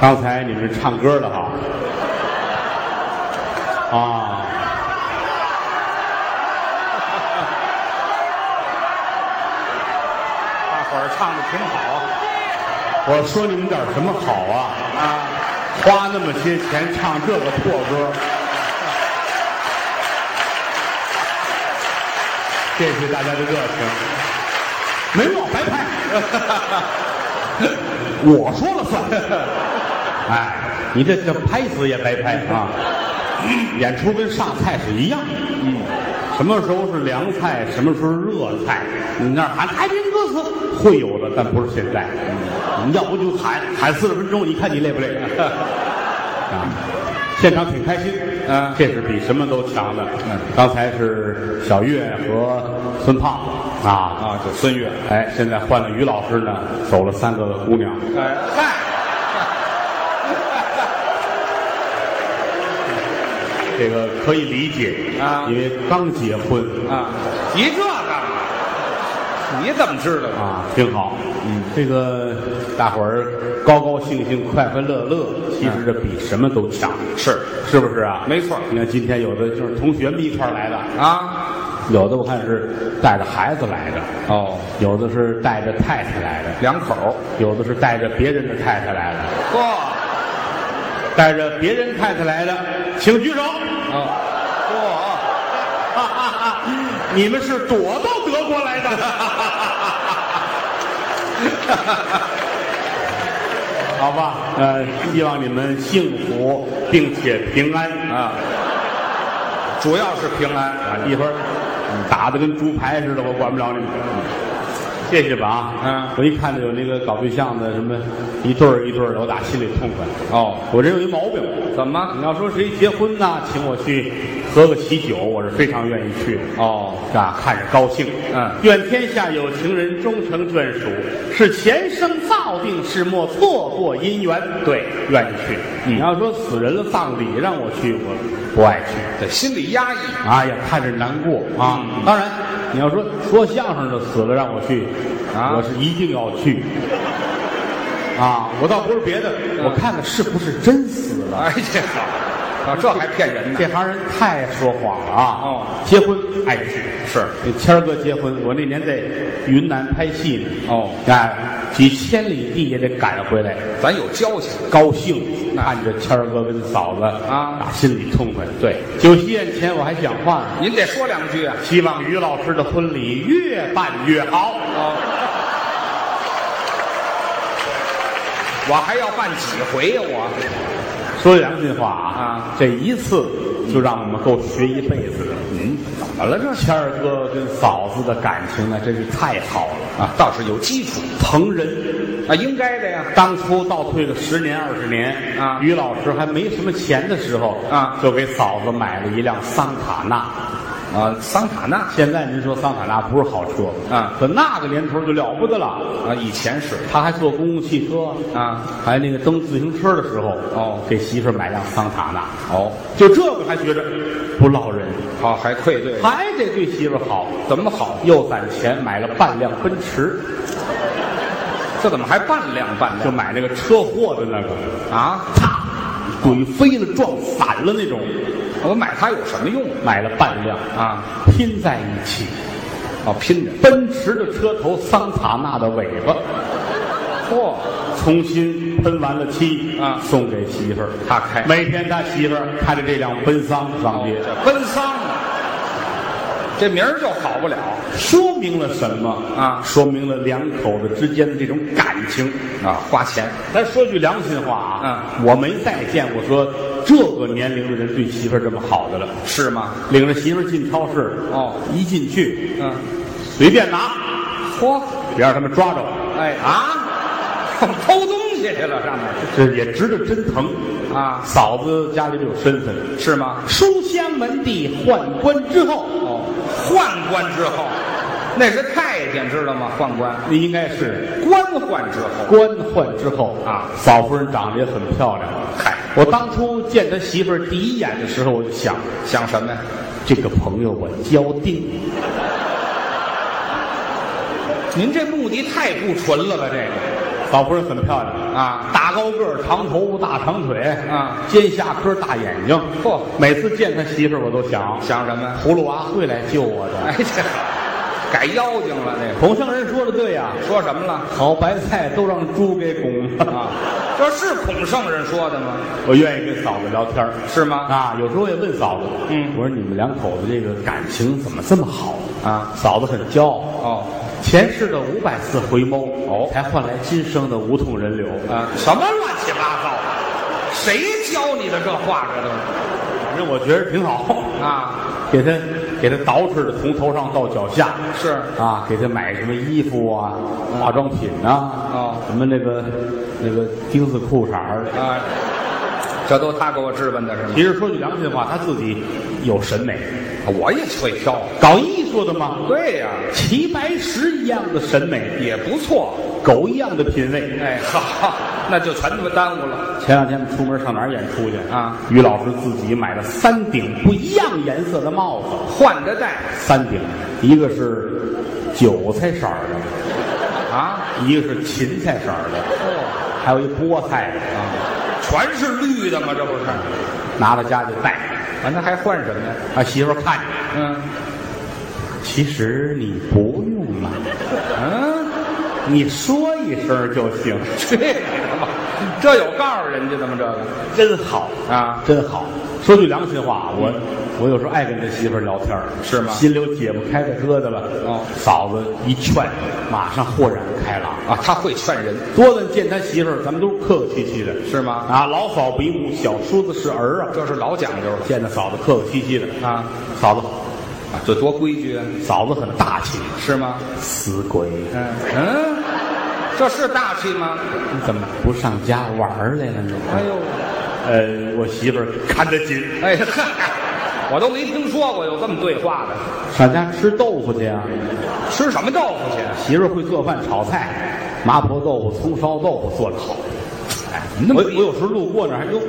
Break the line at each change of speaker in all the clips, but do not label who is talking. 刚才你们唱歌的哈，啊，
大伙儿唱的挺好
我说你们点什么好啊？
啊，
花那么些钱唱这个破歌，这是大家的热情，没我白拍，我说了算。哎，你这这拍死也白拍啊！演出跟上菜是一样，嗯，什么时候是凉菜，什么时候热菜，你那儿喊太平歌词会有的，但不是现在。你要不就喊喊四十分钟，你看你累不累？ 啊，现场挺开心，
嗯
这是比什么都强的。刚才是小岳和孙胖子啊，
啊，这孙越，
哎，现在换了于老师呢，走了三个姑娘，
哎嗨，
这个可以理解
啊
因为刚结婚
啊，提这干嘛？你怎么知道的？
啊，挺好。嗯，这个大伙儿高高兴兴、快快乐乐，其实这比什么都强，
嗯是
是不是啊？
没错
你看今天有的就是同学们一块儿来的，
啊，
有的我看是带着孩子来的，
哦，
有的是带着太太来的，
两口，
有的是带着别人的太太来的，
嚯，
带着别人太太来的，请举手。
啊，
哈哈哈！ 你们是躲到德国来的。 好吧，呃，希望你们幸福并且平安
嚯啊，主要是平安，
啊！一会儿打的跟猪排似的，我管不了你们。谢谢吧啊！
嗯
我一看到有那个搞对象的什么一对儿一对儿的，我打心里痛快。
哦，
我这有一毛病，
怎么？
你要说谁结婚呐，请我去喝个喜酒，我是非常愿意去的。
哦，
啊，看着高兴。
嗯
愿天下有情人终成眷属，是前生造定，是莫错过姻缘。对，愿意去。
嗯
你要说死人了葬礼让我去，我不爱去。
这心里压抑，
哎呀，看着难过啊！
嗯
当然，你要说说相声的死了让我去，
啊
我是一定要去。啊，我倒不是别的，
嗯
我看看是不是真死了。
哎，这好，啊，这还骗人呢
这？行人太说谎了啊！
哦
结婚爱去
是
这谦儿哥结婚，我那年在云南拍戏呢。
哦
哎，几千里地也得赶回来，
咱有交情，
高兴
那
看着谦儿哥跟嫂子
啊
打心里痛快。
对，
酒席宴前我还讲话呢，
您得说两句啊。
希望于老师的婚礼越办越好。
哦，我还要办几回呀、我
说良心话啊，
啊
这一次就让我们够学一辈子的。嗯，怎么了这？谦儿哥跟嫂子的感情呢，真是太好了，
啊，倒是有基础
疼人。
啊，应该的呀。
当初倒退个十年二十年
啊
于老师还没什么钱的时候
啊
就给嫂子买了一辆桑塔纳。
啊，桑塔纳
现在您说桑塔纳不是好车
啊
可那个年头就了不得了。
啊，以前是
他还坐公共汽车
啊，
还那个蹬自行车的时候
哦
给媳妇儿买辆桑塔纳，
哦，
就这个还觉着不落人，
好、还愧对，
还得对媳妇儿好。
怎么好？
又攒钱买了半辆奔驰，
这怎么还半辆半
就
辆
买那个车祸的那个，
啊？
啪，怼飞了，撞散了那种。
我买它有什么用啊
买了半辆，
啊？
拼在一起。
哦，拼着，
奔驰的车头，桑塔纳的尾巴，
嚯、
重新喷完了漆
啊
送给媳妇儿。
他开
每天他媳妇儿开着这辆奔桑上街，
哦这奔丧啊，这名儿就好不了
说明了什么
啊
说明了两口子之间的这种感情。
啊，花钱
咱说句良心话啊，我没再见过说这个年龄的人对媳妇儿这么好的了。
是吗？
领着媳妇儿进超市，
哦
一进去
嗯，
随便拿，
嚯、
别让他们抓着我，
哎啊， 怎么偷东西去了？上哪儿
这也值得真疼。
啊？
嫂子家里有身份，
是吗？
书香门第，宦官之后，
哦，宦官之后，那是太监，知道吗？宦官，
你应该是
官宦之后，
官宦之后
啊
嫂夫人长得也很漂亮。
嗨
我当初见他媳妇儿第一眼的时候，我就想，
想什么呀？
这个朋友我交定。
您这目的太不纯了吧？这个
老夫人很漂亮，
啊，
大高个儿，长头发，大长腿，
啊
尖下颏，大眼睛。
嚯
每次见他媳妇儿，我都想，
想什么？
葫芦娃会来救我的。
哎，这改妖精了，这
孔圣人说的对呀、
个说什么了？
好白菜都让猪给拱了。
啊，这是孔圣人说的吗？
我愿意跟嫂子聊天儿
是吗？
啊，有时候也问嫂子，
嗯
我说你们两口子这个感情怎么这么好
啊
嫂子很骄傲，
哦，
前世的五百次回眸，哦，才换来今生的无痛人流。
啊，什么乱七八糟的？谁教你的这话？这都是
反正我觉得挺好，
啊，
给他给他捯饬的从头上到脚下，
是
啊，给他买什么衣服啊、化妆品呐、
哦
什么那个那个钉子裤衩儿。
啊，这都他给我质问的是吗？
其实说句良心话，他自己有审美，
我也会挑。
搞艺术的嘛，
对呀、
齐白石一样的审美，
也不错。
狗一样的品味。
哎，好，那就全他妈耽误了。
前两天我们出门上哪儿演出去
啊？
于老师自己买了三顶不一样颜色的帽子，
换着戴
三顶，一个是韭菜色儿的，
啊，
一个是芹菜色儿的，
哦，啊
还有一菠菜的，
全是绿的吗？这不是？
拿到家就戴。
啊，那还换什么呀？
啊，媳妇儿看着，
嗯
其实你不用买，
嗯，
你说一声就行，
去你的吧！这有告诉人家的吗？这
真
个
好。
啊，
真好。说句良心话，我我有时候爱跟这媳妇儿聊天儿
是吗
心里有解不开的疙瘩了。
哦
嫂子一劝，马上豁然开朗。
啊，他会劝人
多咱见他媳妇儿，咱们都是客客气气的，
是吗？
啊，老嫂不一目，小叔子是儿啊。
这是老讲究了
见着嫂子客客气气的，
啊
嫂子
啊，这多规矩啊，
嫂子很大气，
是吗？
死鬼，
嗯嗯，这是大气吗？
你怎么不上家玩儿来了呢？
哎呦，
呃，我媳妇儿看得紧，
哎嗨，我都没听说过有这么对话的。
上家吃豆腐去啊。
吃什么豆腐去？
媳妇儿会做饭炒菜，麻婆豆腐、葱烧豆腐做的好。哎，
那么
我我有时候路过那儿，还哟，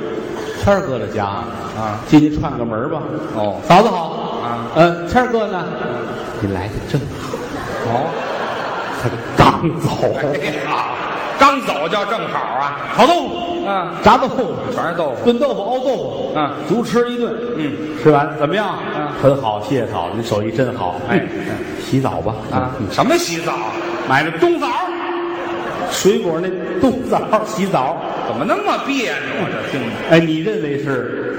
谦儿哥的家
啊
进去串个门儿吧。
哦
嫂子好
啊，
呃，谦儿哥呢？你来的正好，
哦。
他刚走。
哎好，刚走就正好啊。
炒豆腐，
啊，
炸豆腐，
全是豆腐。
炖豆腐、熬豆腐，
啊
足吃一顿。
嗯，
吃完怎么样？
嗯
很好，谢谢嫂子，您手艺真好。
哎
嗯洗澡吧。
啊
嗯，
什么洗澡？
买了冬枣，水果那冬枣洗澡。
怎么那么别扭啊？这听着，
哎，你认为是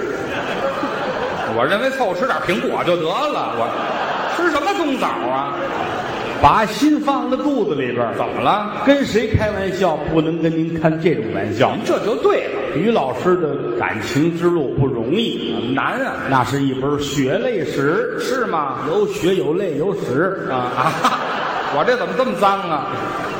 我认为凑合吃点苹果就得了。我吃什么冬枣啊？
把心放在肚子里边儿？
怎么了？
跟谁开玩笑不能跟您开这种玩笑？
这就对了，
于老师的感情之路不容易，
难啊，
那是一本血泪史，
是吗？
有血有泪有史，
啊啊！ 我这怎么这么脏啊？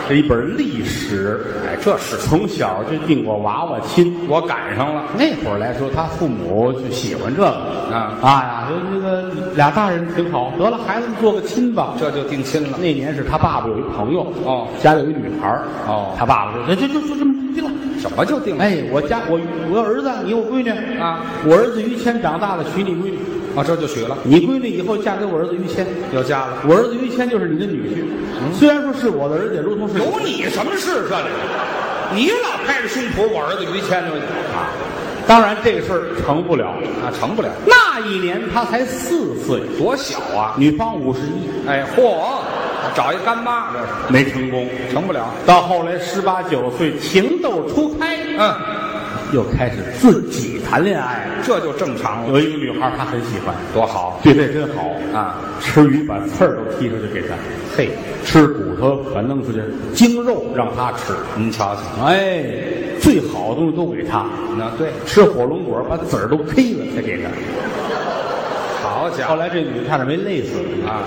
是一本历史。
哎，这是
从小就定过娃娃亲，
我赶上了。
那会儿来说，他父母就喜欢这个
啊
啊呀，就那个俩大人挺好，得了，孩子们做个亲吧。
这就定亲了，
那年是他爸爸有一朋友
哦
家里有一女孩儿
哦嗯
他爸爸说就就就这么定了。
什么就定了？
哎，我家我我有儿子，你有闺女
啊，
我儿子于谦长大了娶你闺女，
哦，这就许了，
你闺女以后嫁给我儿子于谦，
有家了。
我儿子于谦就是你的女婿。虽然说是我的儿子，也如同是
嗯有你什么事？这里，你老拍着胸脯，我儿子于谦就啊
当然这个事儿成不了。
啊，成不了。
那一年他才四岁，
多小啊！
女方五十一，
哎，嚯，找一干妈这是
没成功。
成不了。
到后来十八九岁，情窦初开，
嗯，
又开始自己谈恋爱了。
这就正常了，
有一个女孩儿，她很喜欢，
多好
对这真好
啊！
吃鱼把刺儿都剔出去给他，
嘿，
吃骨头把弄出去，精肉让他吃。
您瞧瞧，
哎，最好的东西都给他，
那对，
吃火龙果把籽儿都呸了才给他。
好家
后
伙
来这女的差点没累死，
啊，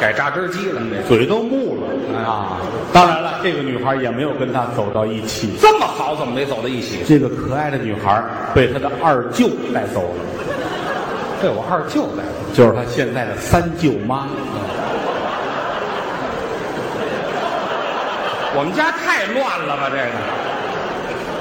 改榨汁机了，这
嘴都木了
哎
啊！当然了，这个女孩也没有跟他走到一起。
这么好，怎么没走到一起？
这个可爱的女孩被她的二舅带走了，
对我二舅来了，
就是她现在的三舅妈。
我们家太乱了吧？这个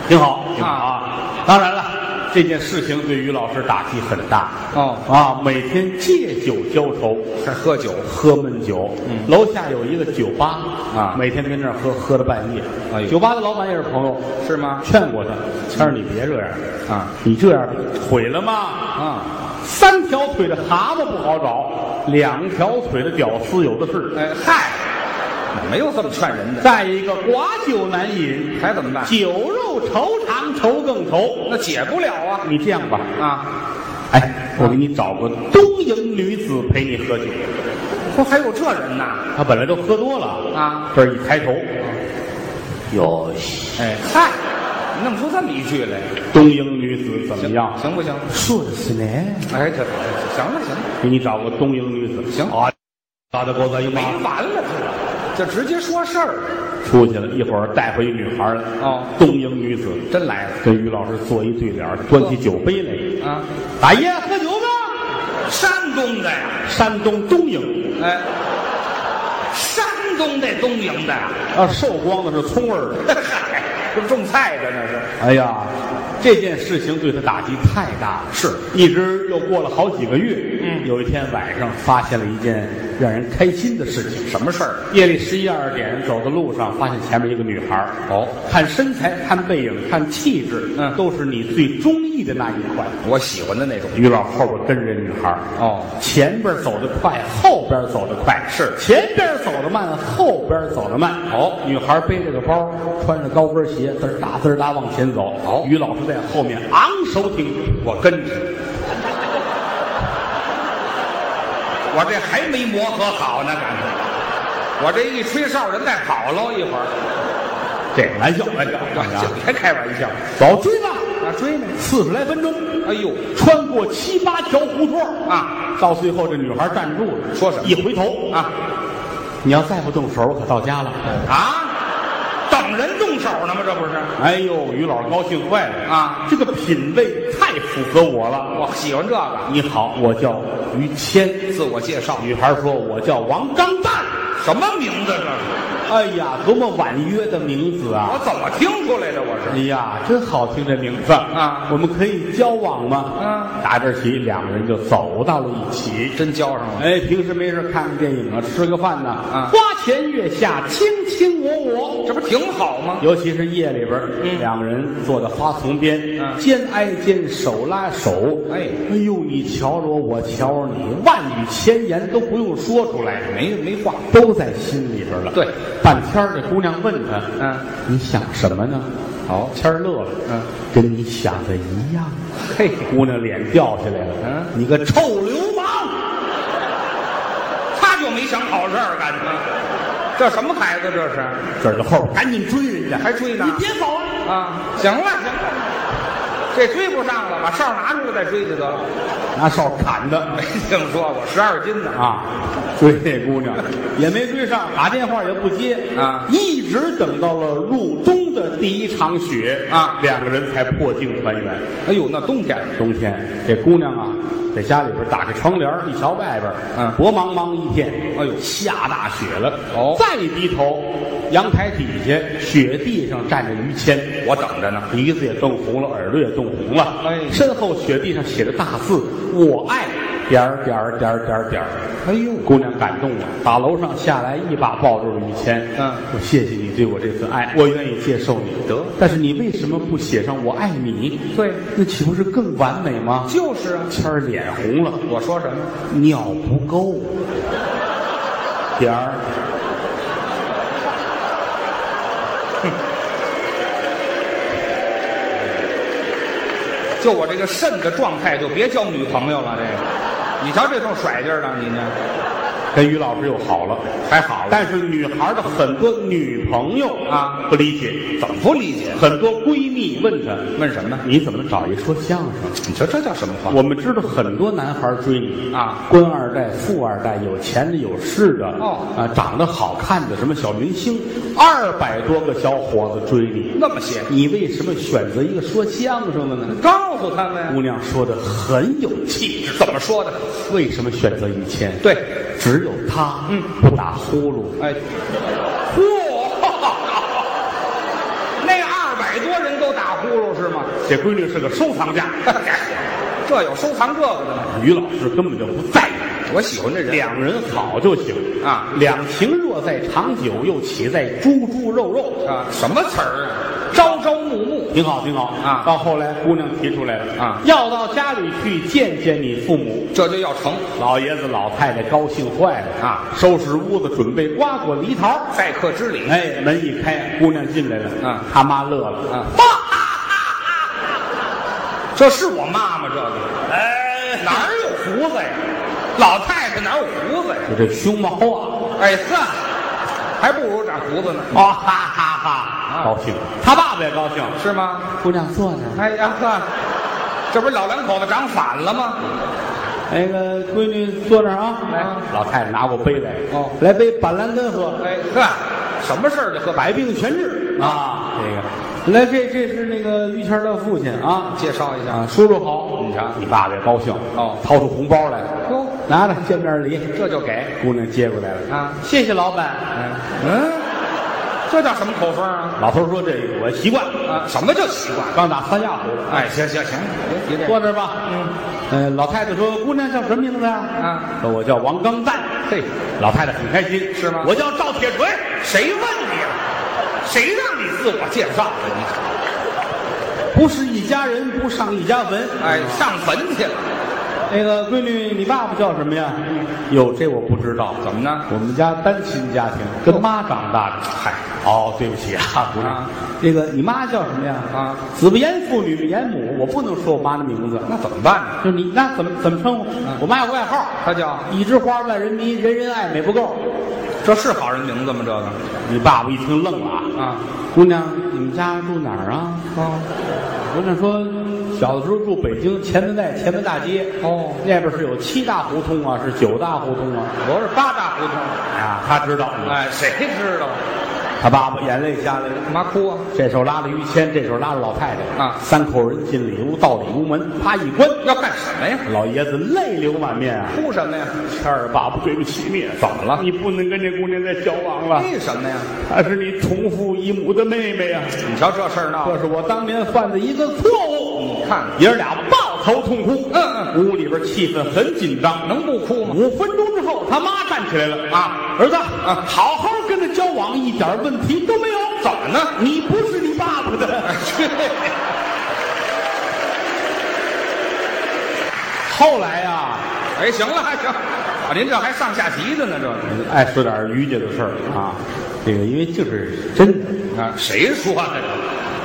挺好，挺好
啊
啊！当然了，这件事情对于老师打击很大
哦
啊，每天借酒浇愁，
还喝酒
喝闷酒。楼下有一个酒吧
嗯啊
每天都跟那儿喝，喝到半夜。
哎呦
酒吧的老板也是朋友，
是吗？
劝过他，谦儿你别这样
啊，
你这样毁了嘛。
啊，
三条腿的蛤蟆不好找，两条腿的屌丝有的是。
哎嗨，没有这么劝人的，
再一个，寡酒难饮，
还怎么办？
酒肉愁肠愁更愁。
那解不了啊
你这样吧，
啊！
哎，我给你找个东营女子陪你喝酒。
不还有这人呐？
他本来都喝多了
啊，
这儿一抬头，有戏
哎嗨，弄出这么一句来，
东营女子怎么
行
样？
行不行？
说的是呢，
哎，这这行了行了，
给你找个东营女子，
行
啊，大家给我咱一
没
把
完了这，这直接说事儿，
出去了，一会儿带回一女孩来。
哦
东营女子
真来了
跟于老师做一对脸儿，端起酒杯来，
啊！
大爷喝酒吧。
山东的呀，
山东东营
哎，山东这东营的呀，
啊，寿光的是葱味儿的。
嗨，这不种菜的那是。
哎呀，这件事情对他打击太大了，
是
一直又过了好几个月。
嗯
有一天晚上发现了一件让人开心的事情。
什么事儿？
夜里十一二点走在路上，发现前面一个女孩儿
哦，
看身材、看背影、看气质，
嗯
都是你最中意的那一款。
我喜欢的那种。
于老后边跟着这女孩儿
哦，
前边走得快，后边走得快，
是
前边走得慢，后边走得慢。
哦
女孩背着个包，穿着高跟鞋，滋儿哒滋儿哒往前走。
哦
于老师在后面昂首挺胸，我跟着。
我这还没磨合好呢，感觉。我这一吹哨，人再跑喽一会儿。
这个玩笑，玩笑，玩笑
这别开玩笑，
走追吧，
啊，追呢？
四十来分钟，
哎呦，
穿过七八条胡同
啊，
到最后这女孩站住了，
说什么
一回头，
啊哦
你要再不动手，我可到家了。
啊，等人动手呢吗？这不是？
哎呦，于老师高兴坏了
啊！
这个品味太符合我了。
我喜欢这个。
你好，我叫于谦。
自我介绍，
女孩说：“我叫王刚蛋。
什么名字这是？”
哎呀，多么婉约的名字啊！
我怎么听出来的？我
哎
是
呀，真好听这名字
啊
我们可以交往吗？
啊，
打这起，两个人就走到了一起。
真交上了。
哎，平时没事看看电影啊，吃个饭呐，
啊
花前月下，卿卿我我。
这不挺好吗？
尤其是夜里边儿，
嗯
两个人坐在花丛边，
嗯
肩挨肩，手拉手。
哎
哎呦，你瞧着我，我瞧着你，万语千言都不用说出来，
没没话。
都在心里边了。
对，
半天儿这姑娘问他，
嗯，
你想什么呢？
好
天儿乐了，
嗯，
跟你想的一样。
嘿，
姑娘脸掉下来了，
嗯
你个臭流氓！
他就没想好事儿，感觉。这什么孩子？这是？
指着后边赶紧追人家，
还追呢
你别走啊！
啊，行了行了，这追不上了，把哨拿出来再追就得了。
拿哨砍的
没听说过十二斤呢，
啊，追这姑娘也没追上，打电话也不接
啊
一直等到了入冬的第一场雪
啊
两个人才破镜团圆。
哎呦，那冬天
冬天这姑娘啊，在家里边打开窗帘儿一瞧外边儿，
嗯
薄茫茫一片，
哎呦
下大雪了。
哦
再一低头，阳台底下雪地上站着于谦，
我等着呢。
鼻子也冻红了，耳朵也冻红了。
哎
身后雪地上写着大字“我爱”，点儿点儿点儿点儿点儿。
哎呦
姑娘感动了，打楼上下来，一把抱住了于谦。
嗯
我谢谢你对我这份爱，我愿意接受你。
得
但是你为什么不写上“我爱你”？
对
那岂不是更完美吗？
就是啊，
谦儿脸红了，
我说什么？
尿不够，点儿。
就我这个肾的状态，就别交女朋友了。这个，你瞧这通甩劲儿的，你呢？
跟于老师又好了，
还好但
但是女孩的很多女朋友
啊
不理解，
怎么不理解？
很多闺蜜问他，
问什么呢？
你怎么找一说相声？
你瞧这叫什么话？
我们知道很多男孩追你
啊，
官二代、富二代，有钱的、有势的，
哦
啊，长得好看的，什么小明星，二百多个小伙子追你，
那么些，
你为什么选择一个说相声的呢？
告诉他们
姑娘说的很有气质，
怎么说的？
为什么选择于谦？，
对，
只有他，
嗯，
不打呼噜，
哎， 嚯，那二百多人都打呼噜是吗？
这闺女是个收藏家，
这有收藏这个的吗？
于老师根本就不在意，
我喜欢这人
两人好就行
啊
两情若在长久，又岂在猪猪肉肉？
啊，什么词儿啊？朝朝暮暮
挺好，挺好
啊
到后来姑娘提出来了
啊
要到家里去见见你父母。
这就要成，
老爷子老太太高兴坏了
啊！
收拾屋子，准备瓜果梨桃。
待客之礼。
哎，门一开，姑娘进来了。
啊
他妈乐了。
啊，这是我妈妈这个，
哎，
哪儿有胡子呀？老太太哪有胡子呀？
就这胸毛啊，
哎呵，还不如长胡子呢，
哦哈哈哈，高兴。啊他爸爸也高兴。
是吗？
姑娘坐那儿。
哎呀呵，这不是老两口子长反了吗？
那哎个闺女坐那儿啊，
来
老太太拿过杯来，
哦
来杯板蓝根喝，
哎呵，什么事儿就喝白
百病全治啊。这个，来这这是那个于谦儿的父亲啊，
介绍一
啊
下，
叔叔好，
你瞧
你爸爸也高兴
哦
掏出红包来，
哟，
拿着见面礼，
这就给
姑娘接过来了，
啊，
谢谢老板。
嗯，这叫什么口风啊？
老头说这我习惯，
啊，什么叫习惯？
刚打三亚回来，
哎，行行行，别提这
坐
个，
那儿吧。
嗯，
呃，老太太说姑娘叫什么名字呀？
啊，
说我叫王刚蛋。
嘿，
老太太很开心，
是吗
我叫赵铁锤。
谁问你了？谁让你自我介绍的？你这
不是一家人，不上一家坟。
哎，上坟去了？
那个闺女，你爸爸叫什么呀？哟，这我不知道。
怎么呢？
我们家单亲家庭，跟妈长大的。嗨，哦，对不起啊，姑娘
啊。
这个你妈叫什么呀？
啊，
子不言父，女不言母，我不能说我妈的名字。
那怎么办呢？
就你那怎么怎么称呼？我妈有个外号，
他叫
一枝花万人迷，人人爱美不够。
这是好人名字吗？这个
你爸爸一听愣了啊！
啊，
姑娘，你们家住哪儿啊？
哦
姑娘说，小的时候住北京前门外前门大街。
哦，
那边是有七大胡同啊，是九大胡同啊。
我是八大胡同。
啊，他知道，
哎，谁知道？
他爸爸眼泪下来了，
干嘛哭啊？
这手拉着于谦，这手拉着老太太
啊
三口人进里屋，到里屋门，啪一关，
要干什么呀？
老爷子泪流满面啊。
哭什么呀？
谦儿，爸爸对不起你，怎么了？你不能跟这姑娘再交往了，
为什么呀？
她是你同父异母的妹妹啊，
你瞧这事儿闹
这
的，
是我当年犯的一个错误。
你看看
爷儿俩抱头痛哭，
嗯嗯，
屋里边气氛很紧张，
能不哭 吗？
五分钟之后，他妈站起来了
啊
儿子
啊
好好跟他交往，一点问题都没有。怎么呢？你不是你爸爸
哎
的。后来啊呀、
哎，行了，行，啊，您这还上下级的呢，这个
爱说点于家的事儿啊，这个因为这是真的。
啊，谁说的？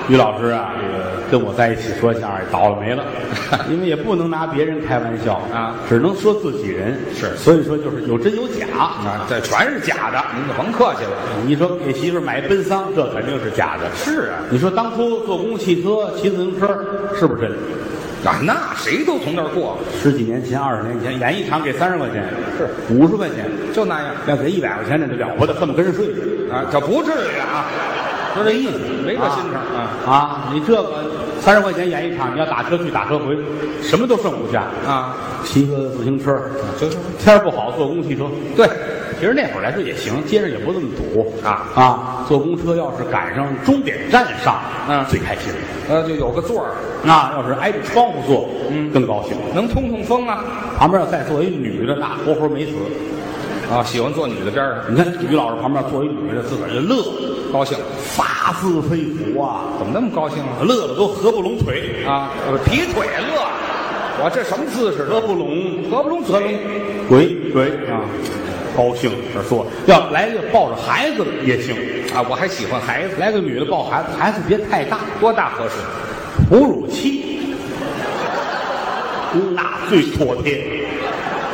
于老师啊，这个跟我在一起说相声倒了霉了， 因为也不能拿别人开玩笑
啊
只能说自己人
是
所以说就是有真有假。
啊，这全是假的，您就甭客气了。
你说给媳妇儿买奔丧，这肯定是假的。
是啊，
你说当初坐公共汽车、骑自行车是不是真的？
啊，那谁都从那儿过，
十几年前、二十年前，演一场给三十块钱，是五十块钱，
就那样
要给一百块钱那就了不得，恨不得跟人睡，
啊，这不至于啊，
就这意思，
没这心肠
啊啊！你这个三十块钱演一场，你要打车去打车回，什么都剩不下。
啊，
骑个自行车，
就是
天儿不好坐公汽车。
对，
其实那会儿来说也行，街上也不这么堵
啊
啊！坐公车要是赶上终点站上，
嗯
最开心了。
呃，就有个座儿，
那要是挨着窗户坐，嗯，更高兴。
能通通风啊。
旁边要再坐一女的，那活活没死。
啊，喜欢坐女的边儿上，
你看于老师旁边坐一女的，自个儿就乐，
高兴，
发自肺腑啊，
怎么那么高兴啊？
乐的都合不拢腿，
啊，呃劈腿乐，我这什么姿势？
合不拢
合不拢嘴，
鬼鬼啊，高兴这说要来个抱着孩子的也行，
啊，我还喜欢孩子，
来个女的抱孩子，孩子别太大，
多大合适？
哺乳期。那最妥帖，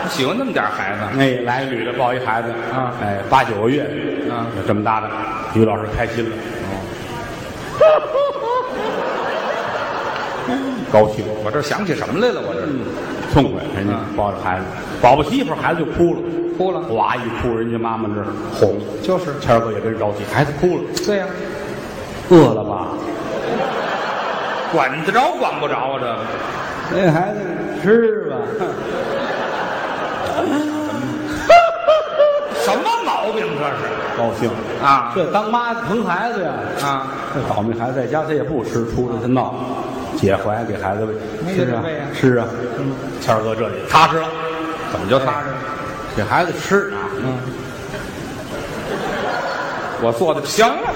喜欢那么点儿孩子，
哎，来个女的抱一孩子
啊
哎，八九个月
啊，
这么大的，于老师开心了，哦 高兴。
我这想起什么来了？我这
痛快，人家
嗯
抱着孩子，保不齐一会儿孩子就哭了，
哭了，
哇一哭，人家妈妈这哄，
就是
谦儿哥也跟着着急，孩子哭了，
对呀、
饿了吧？
管得着管不着啊？这个
那孩子吃吧，
什么毛病这
高兴。
是啊
这当妈疼孩子呀，
啊？
这倒霉孩子在家他也不吃，出去他闹，解怀给孩子喂，
那
是
就
啊
喂啊
是啊，谦儿哥这里踏实了，怎么叫
踏
踏
实
实
了？
给孩子吃啊，
嗯，我做的行了，行了，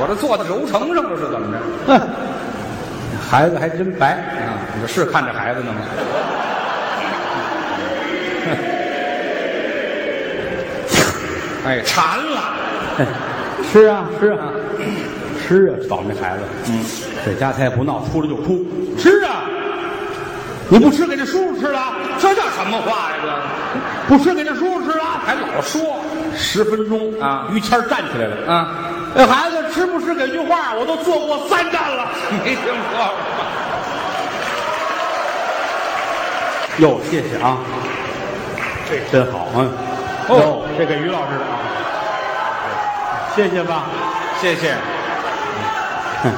我这做的揉成上了是怎么着？
哼， 孩子还真白，
啊，你这是看着孩子 呢吗？哎，馋了，
是啊是啊吃啊，倒霉孩子，嗯，在家他也不闹，出来就哭，吃啊，你不吃给这叔叔吃了，
这叫什么话呀？
不吃给这叔叔吃了
这，还老说
十分钟
啊
于谦儿站起来了，
啊，
哎，孩子吃不吃给句话，我都做过三站了。
没听说过。
哟，谢谢啊，这真好嗯。
哦
哟，这给于老师的啊，谢谢吧。
谢谢
哼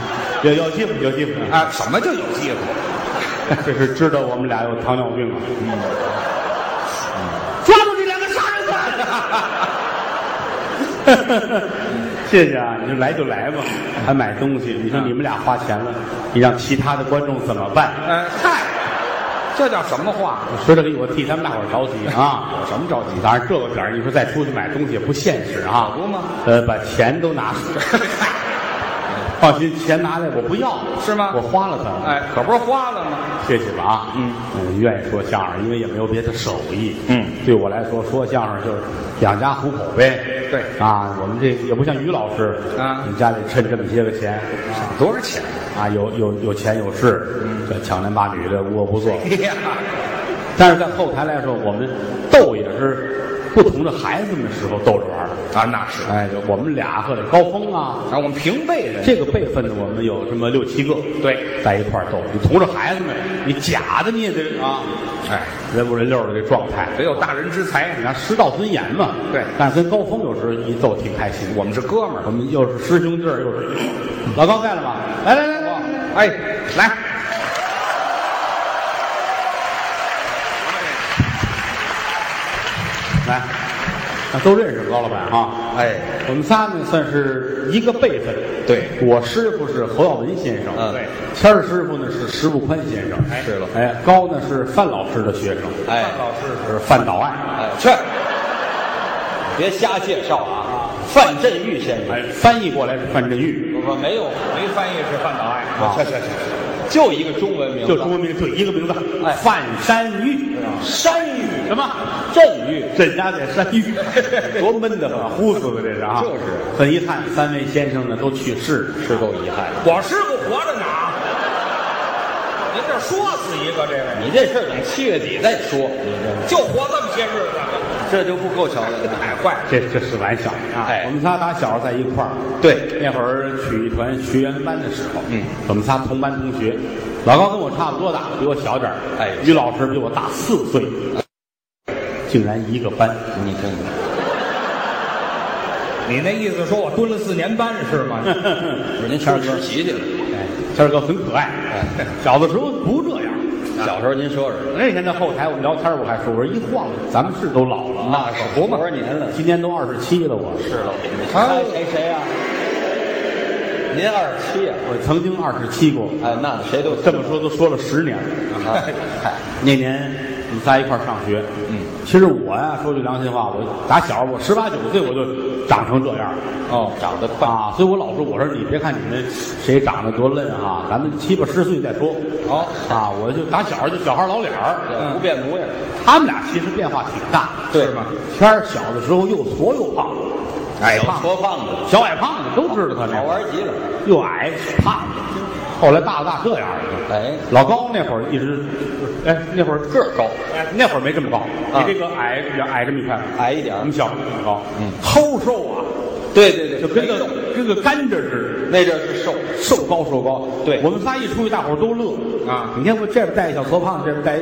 有有戏有戏啊！
啊，什么叫有机会？
这是知道我们俩有糖尿病了。嗯抓住这两个杀人犯！ 谢谢啊，你就来就来吧，还买东西。你说你们俩花钱了，你让其他的观众怎么办？
呃，嗨，这叫什么话？
说这个，我替他们大伙儿着急啊！
有什么着急？
当然，这个点儿你说再出去买东西也不现实啊。
可不吗？
呃，把钱都拿出来。放心，钱拿来我不要，
是吗
我花了它。
哎，可不是花了吗？
谢谢吧啊。
嗯
嗯，愿意说相声，因为也没有别的手艺。
嗯，
对我来说，说相声就是养家糊口呗。
对
啊，我们这也不像于老师
啊
你家里趁这么些个钱
多少钱？
啊，有有有钱有势，
嗯
这强男霸女的无恶不作。
哎呀，
但是在后台来说，我们逗也是不同的孩子们时候逗着玩儿。
啊，那是
哎，我们俩或者高峰啊，
啊，我们平辈人。
这个辈分的我们有这么六七个，
对，
在一块儿逗。你同着孩子们，你假的你也得啊，
哎，
人五人六的这状态，
得有大人之才
你。看师道尊严嘛。
对
但是跟高峰有时候一逗挺开心。
我们是哥们
我
儿。
们又是师兄弟儿，又是老高在了吗？来来来来，来
哎，来，
来，啊都认识高老板啊。
哎，
我们仨呢算是一个辈分，
对
我师傅是侯耀文先生，
嗯
对，
谦儿师傅呢是石不宽先生，
哎
是了
哎，高呢是范老师的学生，
哎
范老师
是范岛爱，
哎，
去，
别瞎介绍啊！范振钰先生，
哎，翻译过来是范振钰，
我没有，
没翻译是范岛爱
啊
去去去，就一个中文名字，
就中文名就一个名字，
哎
范山钰，
山芋、
什么？
振钰，
这家得山芋，多闷的很，呼死的这是啊！
就是，
很遗憾，三位先生呢都去世了。
是够遗憾的。
我师傅活着呢啊！您这说死一个，这位
你这事儿等七月底再说，你
就活这么些日子，
这这就不够瞧的了。
太坏了。
这这是玩笑啊！
哎
我们仨打小在一块儿，
对，
那会儿曲艺团学员班的时候，
嗯，
我们仨同班同学，老高跟我差不多大，比我小点儿，
哎
于老师比我大四岁，竟然一个班，
你听听，
你那意思说我蹲了四年班是吗？
我您
谦儿
上
哥
实习去了。
哎，谦儿哥很可爱，
哎
小的时候不这样。
小时候您说说，
那天在后台我们聊天儿，我还说，我说一晃咱们是都老了，
那可不嘛，多少年了？
今年都二十七了，我
是了，你
啊
看谁谁啊？您二十七啊？
我曾经二十七过，
哎，那谁都
这么说都说了十年了。
啊？嗨，
那年我们仨一块儿上学，
嗯，
其实我呀，说句良心话，我打小我十八九岁我就长成这样了
哦，长得快，
啊，所以我老说，我说你别看你们谁长得多嫩啊，咱们七八十岁再说
哦嗯
啊，我就打小就小孩老脸儿，
不变模样，
他们俩其实变化挺大，
对吗？
天儿小的时候又矬又胖，矮
小
胖子
哎矬胖嗯子，
小矮胖子都知道他那
好
会儿，
玩极了。
又矮胖子，后来大了大这样了。
哎，
老高那会儿一直，哎，那会儿个儿高，哎，那会儿没这么高，
啊
比这个矮比较矮这么一块，
矮一点
我
儿
们小时候很高，
嗯
齁瘦啊，
对对对，
就跟
没
个
动
跟个甘蔗似
那阵儿是瘦，
的，瘦高瘦高。
对
我们仨一出去，大伙儿都乐
啊
你看我这边带一小矬胖子，这边带一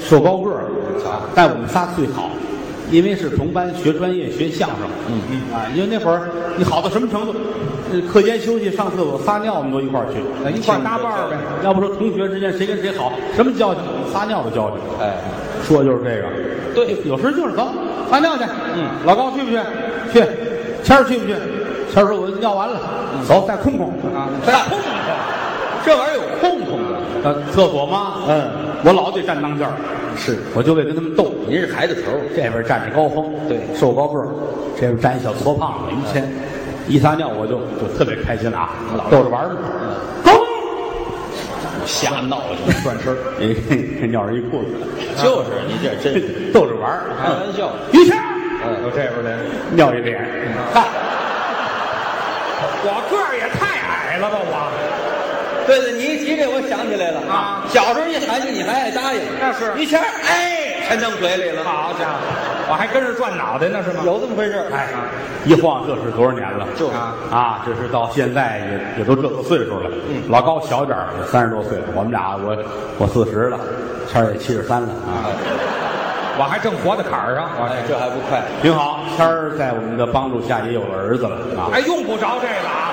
瘦高个儿
瞧，
但我们仨最好。因为是同班学专业学相声，
嗯
嗯啊，因为那会儿你好到什么程度，呃课间休息上厕所撒尿我哎们都一块儿去，
那一块儿搭伴儿呗。
要不说同学之间谁跟谁好，什么交情？撒尿的交情，
哎，
说就是这个。
对
有时就是走撒尿去。
嗯，
老高去不去？去。谦儿去嗯不去？谦儿说我尿完了，走再空空。
嗯
啊，
这空空，这玩意儿有
呃，厕所吗？
嗯，
我老得站当间儿，
是，
我就得跟他们斗。
您是孩子头 儿，
这边站着高峰，
对
瘦高个儿；这边站一小矬胖子，于谦。一撒尿我就就特别开心啊，逗着玩儿嘛。
嗯瞎闹 腾，
转身儿，哎，尿上一裤子，
就是你这真 是
逗着玩儿。
开玩笑，嗯
于谦儿，
嗯有这边的，
尿一脸，嗨，
我个儿也太矮了吧，我
对对，你一提这我想起来了
啊
小时候一喊你，你还爱答应，
那是
于谦儿，哎，全弄嘴里了，
好家伙，我还跟着转脑袋呢是吗？
有这么回事儿？
哎，一晃这是多少年了？
就是
啊，
啊，这是到现在也也都这个岁数了。嗯，老高小点儿，三十多岁了。我们俩，我我四十了，谦儿也七十三了啊，
我还正活在坎儿上，我
哎，这还不快？
挺好。谦儿在我们的帮助下也有了儿子了啊。
哎，用不着这个啊，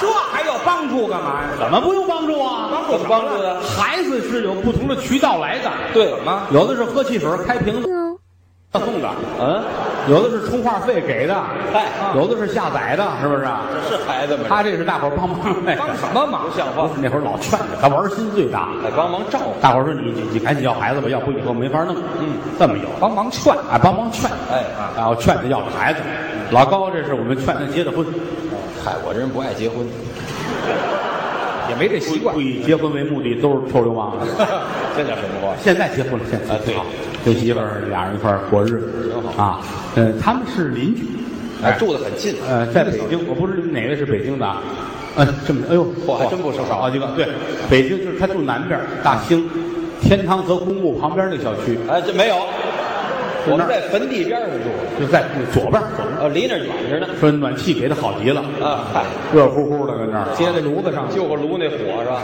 这还要帮助干嘛呀？
怎么不用帮助啊？
帮助
怎么帮助的？
孩子是有不同的渠道来的，
对吗？
有的是喝汽水开瓶子送的，
嗯，
有的是充话费给的，
嗨，
有的是下载的，是不是？
这是孩子们，
他这是大伙儿帮忙来的。
哎帮什么忙
不？像
不
话
是，那会儿老劝他，他玩心最大。
得帮忙照顾，
大伙儿说你你你赶紧要孩子吧，要不以后没法弄。嗯，这么有
帮忙劝，
啊，帮忙劝，
哎
啊，嗯我劝他要了孩子。老高，这是我们劝他结的婚，
嗨，我这人不爱结婚，
也没这习惯
不。以结婚为目的，都是臭流氓。
这叫什么话？
现在结婚了，现在
啊对
好跟媳妇儿俩人一块儿过日子，
挺好
啊。呃，他们是邻居，
哎，住得很近，
呃，在北京，我不知道哪位是北京的啊。嗯，这么，哎呦，
嚯还真不少
好几啊个。对，北京就是他住南边，大兴，天堂泽公墓旁边那个小区，
哎，这没有，
是
我们
那儿
在坟地边上住，
就在左边，左边。
哦，离那儿远着呢。
说暖气给的好极了，
啊，嗨，
热乎乎的跟那儿。
接在炉子上，
就个炉那火是吧？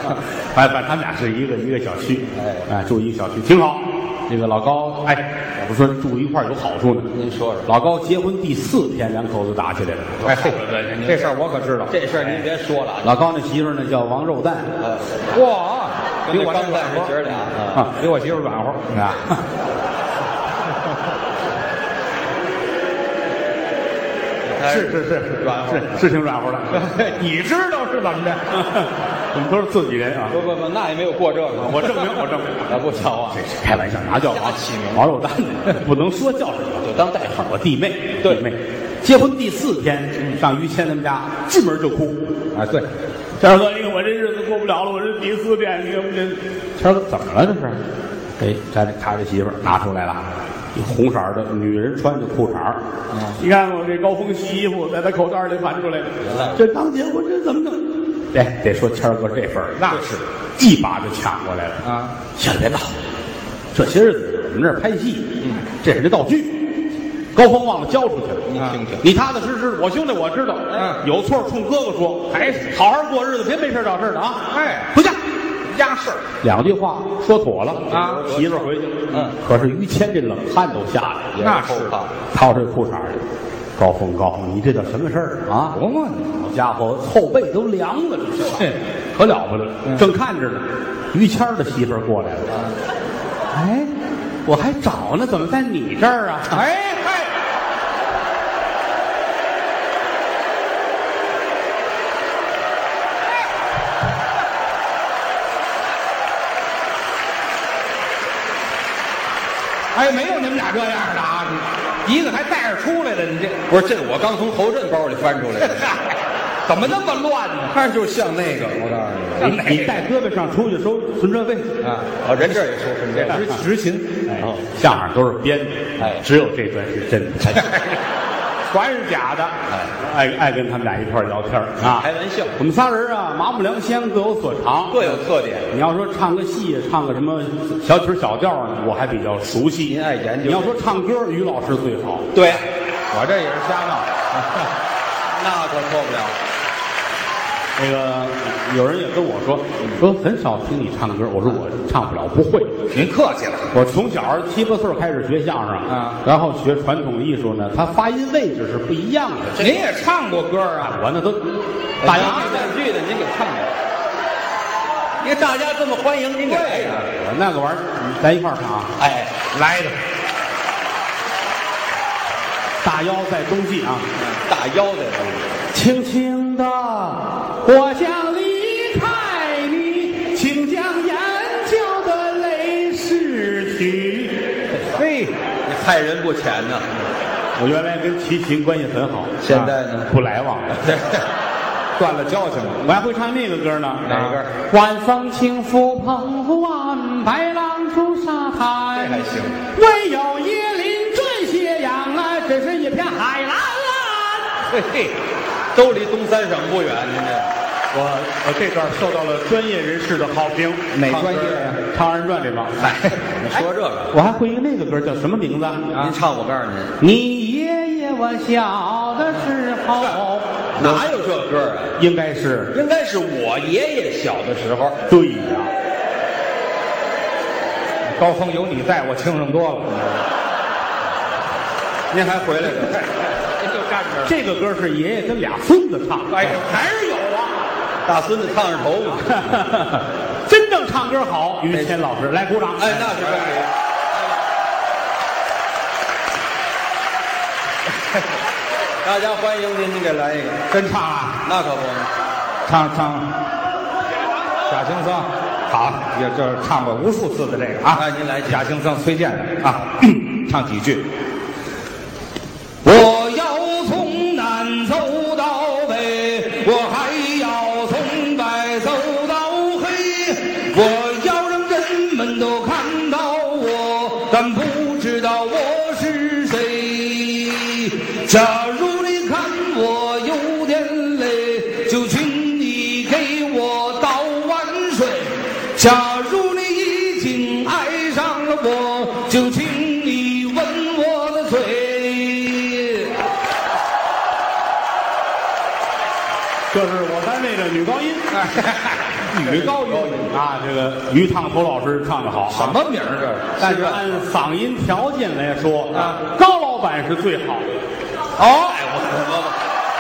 哎，反正他们俩是一个一个小区，
哎
哎，住一个小区挺好。这个老高，哎，我不说住一块儿有好处呢。
您说说，
老高结婚第四天，两口子打起来了。
哎嘿，这事儿我可知道。
这事儿您别说了，啊，
老高那媳妇儿呢叫王肉蛋，
呃，
哎哇，比
跟
我
我
这
刚
软
才是
和
姐儿俩，啊
啊，
比我媳妇儿软和。
啊，
哎
是是是，
软和
是是挺软和的，
你知道是怎么的？
我们都是自己人啊。
不不不，那也没有过这个，
我证明，我证 明，
啊，不像话，
开玩笑，哪叫王
瞎起名
王肉蛋呢？不能说叫什么。
就当代号。
我弟妹，
对
弟妹，结婚第四天上于谦他们家，进门就哭。
啊，对，
谦儿哥，你看我这日子过不了了，我这第四天，你看我这。谦儿哥怎么了这是？哎，他这他这媳妇儿拿出来了，一红色儿的女人穿的裤衩儿你看我这高峰洗衣服，在他口袋里盘出来的
来，
这当结婚这怎么弄？哎，得说谦儿哥这份儿那是一把就抢过来了
啊！
先别闹，这些日子我们这儿拍戏，
嗯
这是那道具，高峰忘了交出去了。
您听听，
你踏踏实实，我兄弟我知道，哎
嗯
有错冲哥哥说，
哎
好好过日子，别没事找事的啊！
哎
回家，
压事儿
两句话说妥了
啊
媳妇儿回去了。
嗯，
可是于谦这冷汗都下来了，
那是
啊，
掏出裤衩来，高峰高峰，你这叫什么事儿啊？
琢磨呢。
好家伙，后背都凉了，这是
嘿
可了不得。
嗯
正看着呢，于谦儿的媳妇儿过来了，哎，我还找呢，怎么在你这儿啊？
哎嗨，哎，没有你们俩这样的啊，一个还带着出来的，你这
不是，这我刚从侯震包里翻出来 的，
嗨，怎么那么乱呢？
看着就像那个，我告诉你，
你你带胳膊上出去收存车费。
啊，啊，人这儿也说是这样，
执勤，哎，
啊
相声都是编的，
哎
只有这段是真 的，哎
全是假的，
爱爱跟他们俩一块儿聊天儿啊。
开玩笑，
我们仨人啊，麻木良乡，各有所长。
各有特点，
你要说唱个戏，唱个什么小曲儿小调儿呢，我还比较熟悉。
您爱研究
你要说唱歌，于老师最好。
对，啊
我这也是瞎闹。
那可错不了，
那个有人也跟我说，说很少听你唱歌。我说我唱不了，不会。
您客气了，
我从小七八岁儿开始学相声，
啊
然后学传统艺术呢，它发音位置是不一样的。
您也唱过歌啊？
我那都
大
大
家
洋
爱看剧的您给看看，因为大家这么欢迎您给来一
啊
个，
我那个玩意儿，咱一块儿唱啊。
哎，
来的，
大腰在冬季啊，
大腰的东西，
轻轻的，我想离开你，请将眼
害人不浅 呢。
哎我原来跟齐秦关系很好，
现在呢
啊不来往了。
对，断了交情了。
我还会唱那个歌呢，
哪个？
晚风轻拂澎湖湾，白浪逐沙滩。
这还行。
唯有椰林缀斜阳啊，只是一片海蓝啊蓝。
嘿嘿，都离东三省不远，您这
我我这段受到了专业人士的好评。
哪
啊唱歌
专业呀
《唐人传》里边。哎，
你说这 个，
我还会一个那个歌，叫什么名字？啊
您唱我告诉您，
你爷爷我小的时候，
哪有这歌啊？
应该是
应该是我爷爷小的时候，
对呀、
高峰有你在，我清醒多了。
您还回来呢。哎
您就站这儿。
这个歌是爷爷跟俩孙子唱的。
哎呀，还是有啊。
大孙子烫着头嘛，
真正唱歌好，于谦老师来鼓掌。
哎，那是真没有大家欢迎您，您给来一个，
真唱啊！
那可不，
唱唱假行僧，好，也就是唱过无数次的这个啊。
哎您来几句
假行僧崔健 的啊，唱几句。我要从南走到北，我还要从白走到黑，我要让人们都看到我，但不知道我是谁。假如你看我有点累，就请你给我倒碗水。假如你已经爱上了我，就请你吻我的嘴。
这是我单位的女高 音，女高音啊，这个于烫头老师唱的好啊。
么名儿这是？
但是按嗓音条件来说，
啊
高老板是最好的，
哦，
哎，我我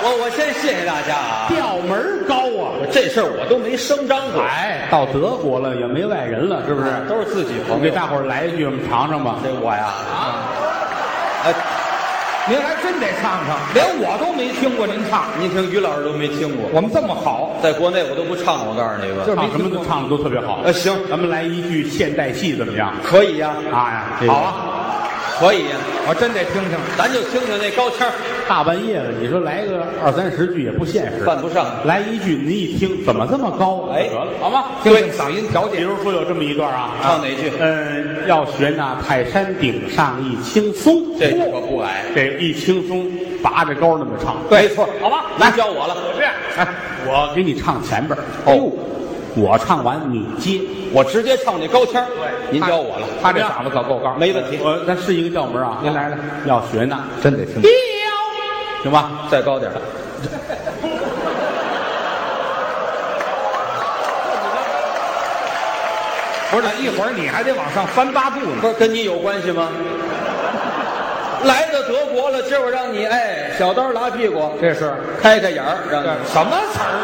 我我先谢谢大家啊，
调门儿高啊。
这事儿我都没声张过，
哎，到德国了也没外人了，是不是？
都是自己
我
朋
给
友。
大伙儿来一句，我们尝尝吧。
这我呀，哎，
您还真得唱唱，连我都没听过您唱。
您听于老师都没听过，
我们这么好，
在国内我都不唱，我告诉你吧，
就是
唱什
没
么
听
都
过
唱的都特别好。
呃行
咱们来一句现代戏怎么样？
可以呀、
啊呀，这个
好啊，
可以呀、
哎我真得听听。
咱就听听那高腔儿
大半夜的，你说来个二三十句也不现实，
犯不上，
来一句，您一听怎么这么高？
哎
得了。
好吗？听听嗓音条
比
件。
如说有这么一段啊，
唱哪句
嗯，要学那泰山顶上一轻松，
这可不矮，
这一轻松拔着高那么唱。
没错，
好吧
来教我了，
这样，哎， 我给你唱前边儿
哦
哎呦我唱完你接，
我直接唱那高腔儿，您教我了，
他这嗓子可够高，
没问题，
我咱是一个调门啊。
您来了，
要学那，
真得听。
行吧？
再高点儿，
不是，一会儿你还得往上翻八步呢。
不是跟你有关系吗？来到德国了，今儿我让你哎，小刀拉屁股，
这是
开开眼儿，让
这
你
什么词儿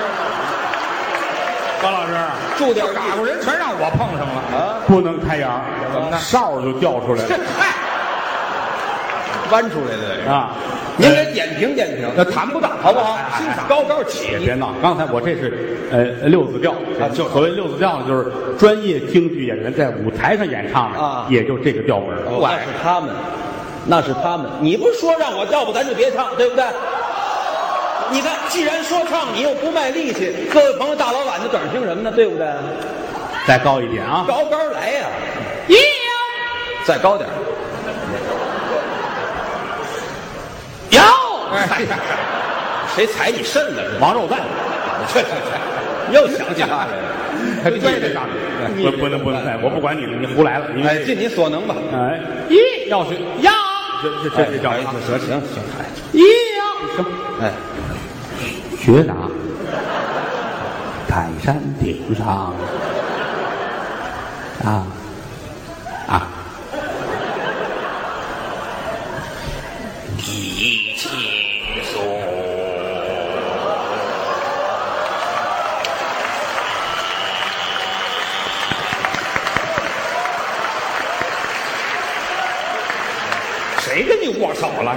高老师
注点
啊？
意
打过人全让我碰上了。
啊，
不能开眼儿，
怎么呢
哨儿就掉出来
这
了
嗨，哎
弯出来的。
啊！
您给点评点评，
那谈不到，哎
好不好？欣
欣赏
赏高高起
别，别闹！刚才我这是呃六字调
啊就是
所谓六字调呢，就是专业京剧演员在舞台上演唱的，
啊
也就这个调门儿。
哦那是他们，那是他们。你不是说让我要不咱就别唱，对不对？你看，既然说唱，你又不卖力气，各位朋友，大老板就等着听什么呢？对不对？
再高一点啊！
高高来呀、再高点儿，
有
哎呀，
谁踩你肾了？
王肉蛋，
这这这，又想起他来了。
还追着上去，不不能不能再，我不管你了，你胡来了，你
哎，尽你所能吧。
哎，一要学要，这这这这叫
哎
什么？
行行行，哎哎，
学哪？泰山顶上啊啊！
一轻松，
谁跟你握手了？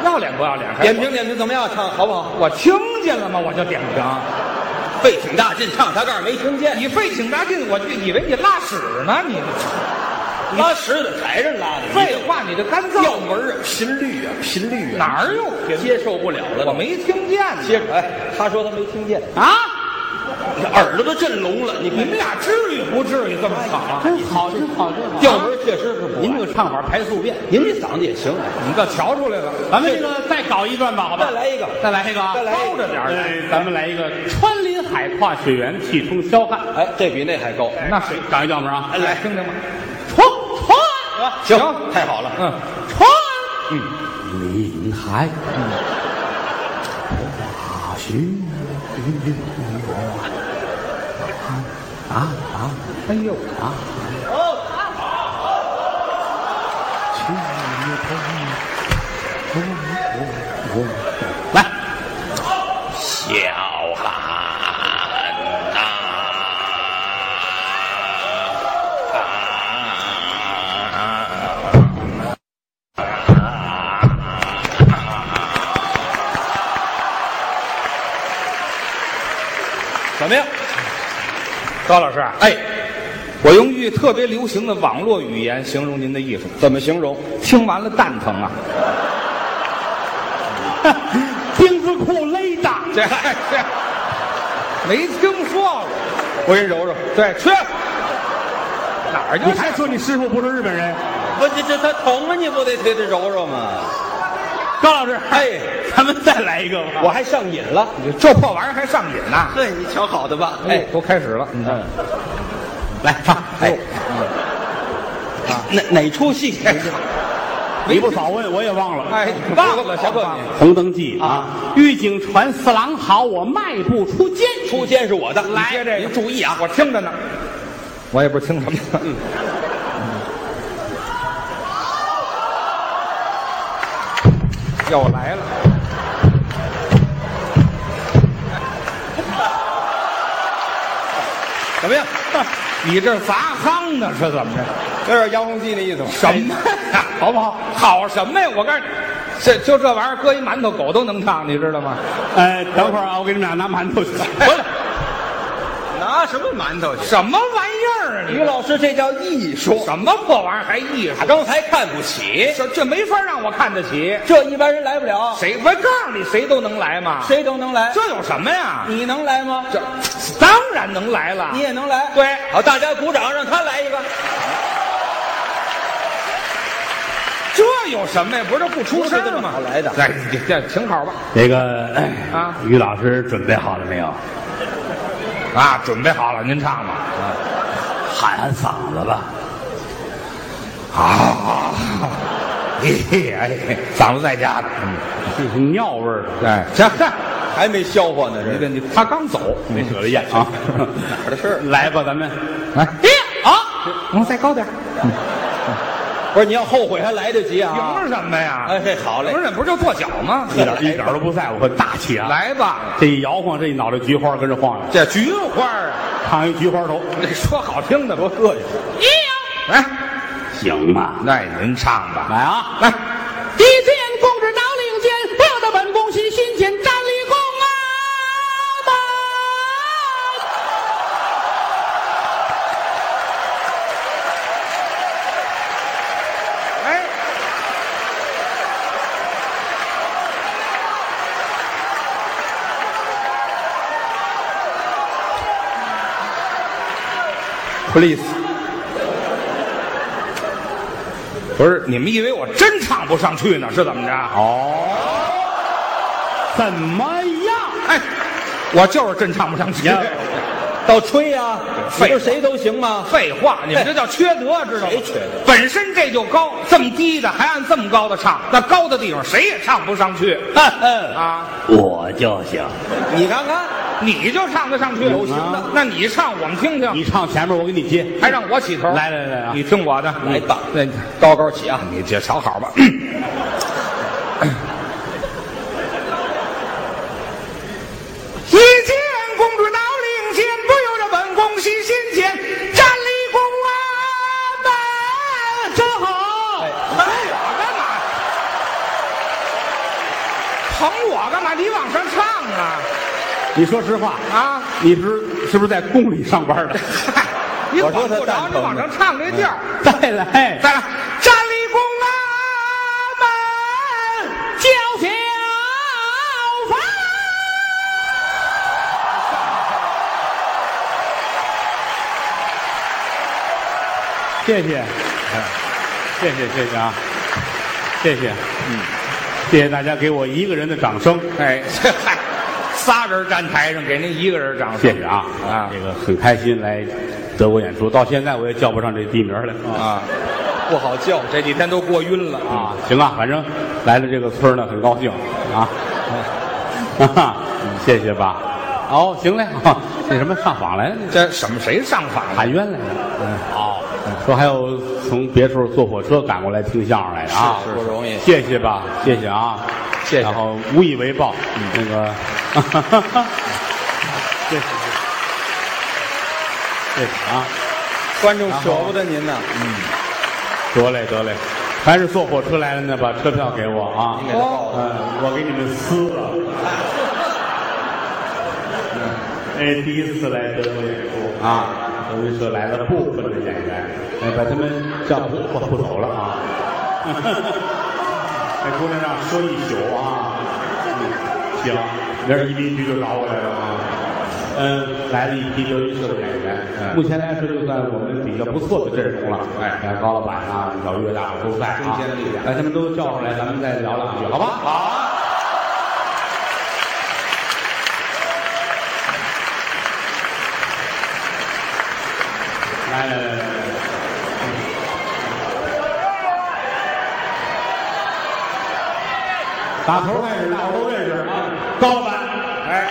你要脸不要脸？还
点评点评怎么样？唱好不好？
我听见了吗？我就点评。
费挺大劲唱，他告诉没听见。
你费挺大劲，我就以为你拉屎呢，你
拉屎得台上拉的，
废话，你这干
调
燥
门儿啊，频率啊，频率啊，
哪儿有频率
接受不了了？
我没听见呢
接哎，他说他没听见，
啊！
这耳朵都震聋了。你
你
看
们俩至于不至于这么吵啊？
真好，真好，真好。
调门儿确实是不完，
您这个唱法排宿便，
您这嗓子也行啊。
你倒瞧出来了，
咱们这个再搞一段吧，好吧？
再来一个
再来一个啊，
再来一个
高着点儿来。咱们来一个穿林海跨雪原，气冲霄汉。
哎，这比那还高。
那谁长一调门啊？
来听听吧。
穿穿
行，太好了。
嗯，
穿，嗯，林海，跨雪啊啊！哎呦啊！来，
小汉呐、啊
怎么样？
高老师啊，
哎，
我用一句特别流行的网络语言形容您的艺术，
怎么形容？
听完了蛋疼啊！
丁字裤勒的，
这哎这没听说过，
我给你揉揉。
对，去哪儿就
你还说你师傅不是日本人？
不，这这他疼啊，你不得得得揉揉吗？
高老师，
哎，
咱们再来一个吧。
我还上瘾了。
这破玩意儿还上瘾呢？
对，你瞧好的吧？哎，
都开始了，你看，
来唱，
哎，哪哪出戏？
你不早问我也忘了。
哎，忘了，小哥你
《红灯记》啊，狱警传四郎好，我迈步出监。
出监是我的，
来
你接这个，您注意啊！
我听着呢，嗯我也不是听什么的。又来了，
怎么样？
你这砸夯呢是怎么着？
有点遥控器那意思吗？
什么呀？好不好？好什么呀？我告诉你，这就这玩意儿，搁一馒头狗都能唱，你知道吗？
呃，等会儿啊，我给你们俩拿馒头去。
拿什么馒头去？
什么玩意儿啊？
于老师，这叫艺术。
什么破玩意儿还艺术？
刚才看不起，
这这没法让我看得起。
这一般人来不了，
谁我告诉你，谁都能来吗？
谁都能来。
这有什么呀？
你能来吗？
这当然能来了。
你也能来。
对
好，大家鼓掌，让他来一个。
这有什么呀？不是不出声
不是这
吗
么好来的
哎，你这挺好吧？
那个哎
啊
于老师准备好了没有？
啊，准备好了，您唱吧。
喊喊嗓子吧。啊！
哎，嗓子在家呢。
这是尿味儿的，
嗯哎，行，
还没消化呢，
你
这
这你他刚走，
没舍得咽 啊。
哪儿的事儿？
来吧，咱们
来，
啊，
能嗯哎再高点儿？
不是，你要后悔还来得及啊
凭！什么呀？
哎，嘿，好嘞
不，是，不是就跺脚吗？
一点一点都不在乎，很大气啊。，
来吧，
这一摇晃，这一脑袋菊花跟着晃着，
这菊花啊，
烫一菊花头，
你说好听的多
膈应。
来，
行吗？
那您唱吧。
来啊，
来，
一见公职脑领间，不得本宫喜心间，站立功啊！
哎，
please，
不是，你们以为我真唱不上去呢？是怎么着？
怎么样？
哎，我就是真唱不上去。
倒吹呀、你
废
不是谁都行吗？
废话，你们这叫缺德，知道吗？
谁缺德？
本身这就高，这么低的还按这么高的唱，那高的地方谁也唱不上去啊！
我就行。
你看看，
你就唱得上去，
有型的
啊那你唱我们听听，
你唱前面，我给你接。
还让我起头？
来来来啊
你听我的，
来吧
那
高高起啊！
你这瞧好吧。一见公主闹领间，不由着本宫喜心间，站立宫啊门，真好。
哎
捧我干嘛？捧我干嘛？你往上唱啊
你说实话，
啊！
你是是不是在宫里上班的？
你
我说
管
他蛋疼
不着，你
嗯
往
吗
上唱这调儿。
再来，
再来，站立公安门叫小芳，
谢谢，谢谢谢谢啊，谢谢，嗯，谢谢大家给我一个人的掌声，
哎， 这嗨，仨人站台上给您一个人掌声，
谢谢啊
啊
这个很开心来德国演出，到现在我也叫不上这地名来啊
啊，不好叫，这几天都过晕了啊。
啊，行啊，反正来了这个村儿呢，很高兴啊， 哈哈，谢谢吧，哦，行嘞， 啊那什么上访来了，
这什么谁上访了？
喊冤来了，哦，说还有从别处坐火车赶过来听相声来的啊，
不容易。
谢谢吧，谢谢啊，
谢谢嗯
然后无以为报，那个， 谢谢，谢谢啊，
观众舍不得您呐，
得嘞得嘞，凡是坐火车来的呢，把车票给我啊，
哦
嗯，我给你们撕了。 哎，第一次来德国演出啊，德云社来了部分的演员，哎，把他们叫不我不走了啊。 在姑娘让说一宿啊，嗯行，明儿移民局就找我来了啊。嗯，来了一批德云社的演员，嗯目前来说就算我们比较不错的阵容了。哎，高老板啊，小岳大伙都在啊。中坚力量，把他们都叫上来，咱们再聊两句，好啊吧？好。来来来来来。打头开始，大伙都认识啊。高老板，哎，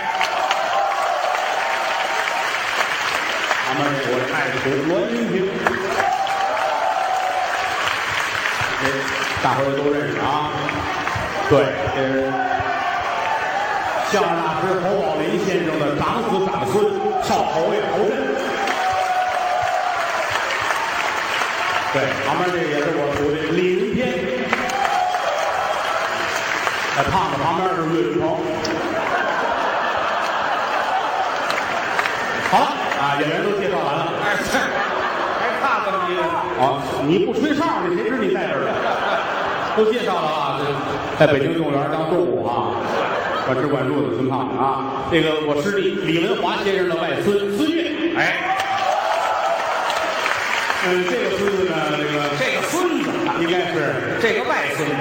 他们我的爱徒罗云平，这哎大伙儿都认识啊。对，这是相声大师侯宝林先生的长子长孙，少侯爷侯震。对，旁边这也是我徒弟李云天。那胖子旁边是岳云鹏。好了啊，演员都介绍完了。
哎，这还怕怎么的？
啊，你不吹哨呢，谁知你在这儿呢？都介绍了啊，这在北京动物园当动物啊，管吃管住的孙胖子啊。这个我师弟李文华先生的外孙孙越，哎，嗯，这个孙子呢，这个
这个孙子，
应该是
这个外孙子，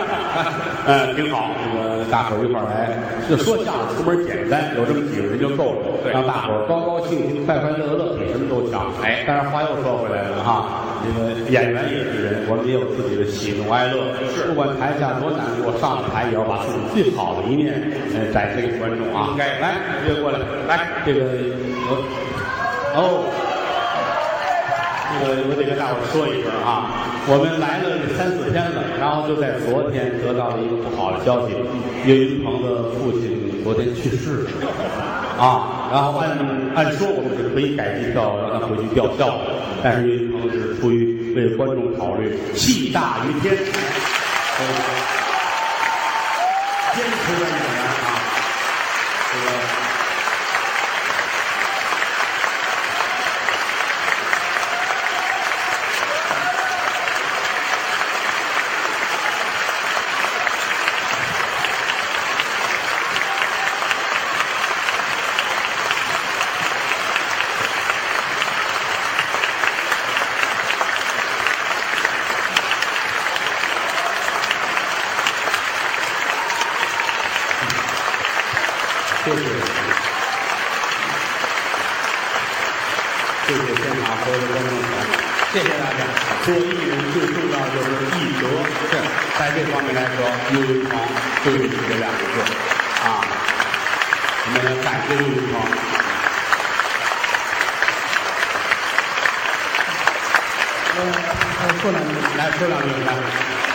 嗯，挺好。这个大伙儿一块儿来，就说相声出门简单，有这么几个人就够了，让大伙儿高高兴兴、快快乐乐，比什么都强。哎，但是话又说回来了哈，这个演员也是人，我们也有自己的喜怒哀乐。是，不管台下多难过，上了台也要把自己最好的一面，呃，展现给观众啊。
应该
来，越过来，来，这个我，哦。这个我得跟大伙儿说一声啊，我们来了这三四天了，然后就在昨天得到了一个不好的消息，岳云鹏的父亲昨天去世了啊。然后按按说我们是可以改机票让他回去吊孝的，但是岳云鹏是出于为观众考虑，气大于天，所以坚持了演员啊，这个。谢谢，谢谢现场所有的观众朋友，谢谢大家。做艺人最重要的就是艺德，是在这方面来说，岳云鹏对不起这两个字啊，我们感谢岳云鹏。
我呃过两句。
来说两句，来，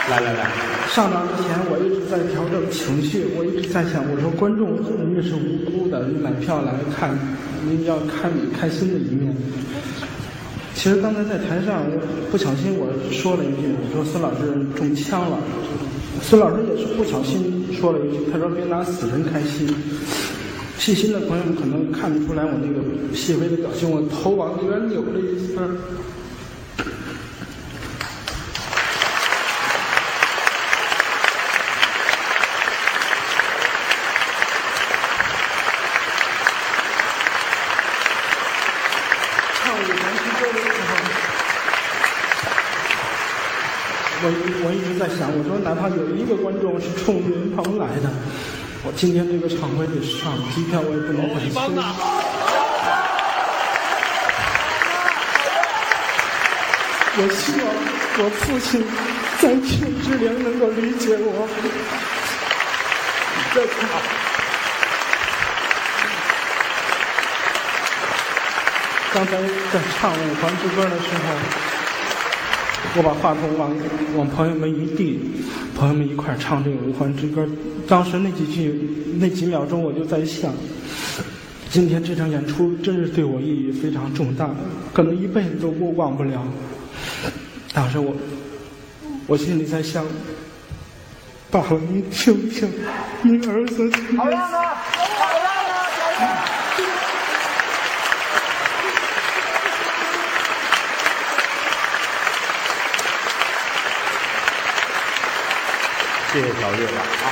来来来，
上场之前，我一直在调整情绪，我一直在想，我说观众人家是无辜的，你买票来看，你要看你开心的一面。其实刚才在台上，我不小心我说了一句，我说孙老师中枪了，孙老师也是不小心说了一句，他说别拿死人开心。细心的朋友们可能看不出来我那个细微的表情，我头往那边扭了一下。唱《五常之歌》的时候，我一我一直在想，我说哪怕有一个观众是冲岳云鹏来的，我今天这个场我也得上，机票我也不能白飞。我希望我父亲在天之灵能够理解我。这场。刚才在唱《五环之歌》的时候，我把话筒往往朋友们一递，朋友们一块儿唱这个《五环之歌》。当时那几句，那几秒钟，我就在想，今天这场演出真是对我意义非常重大，可能一辈子都忘忘不了。当时我，我心里在想，爸爸，您听听，您儿子听听。
谢谢小月吧啊！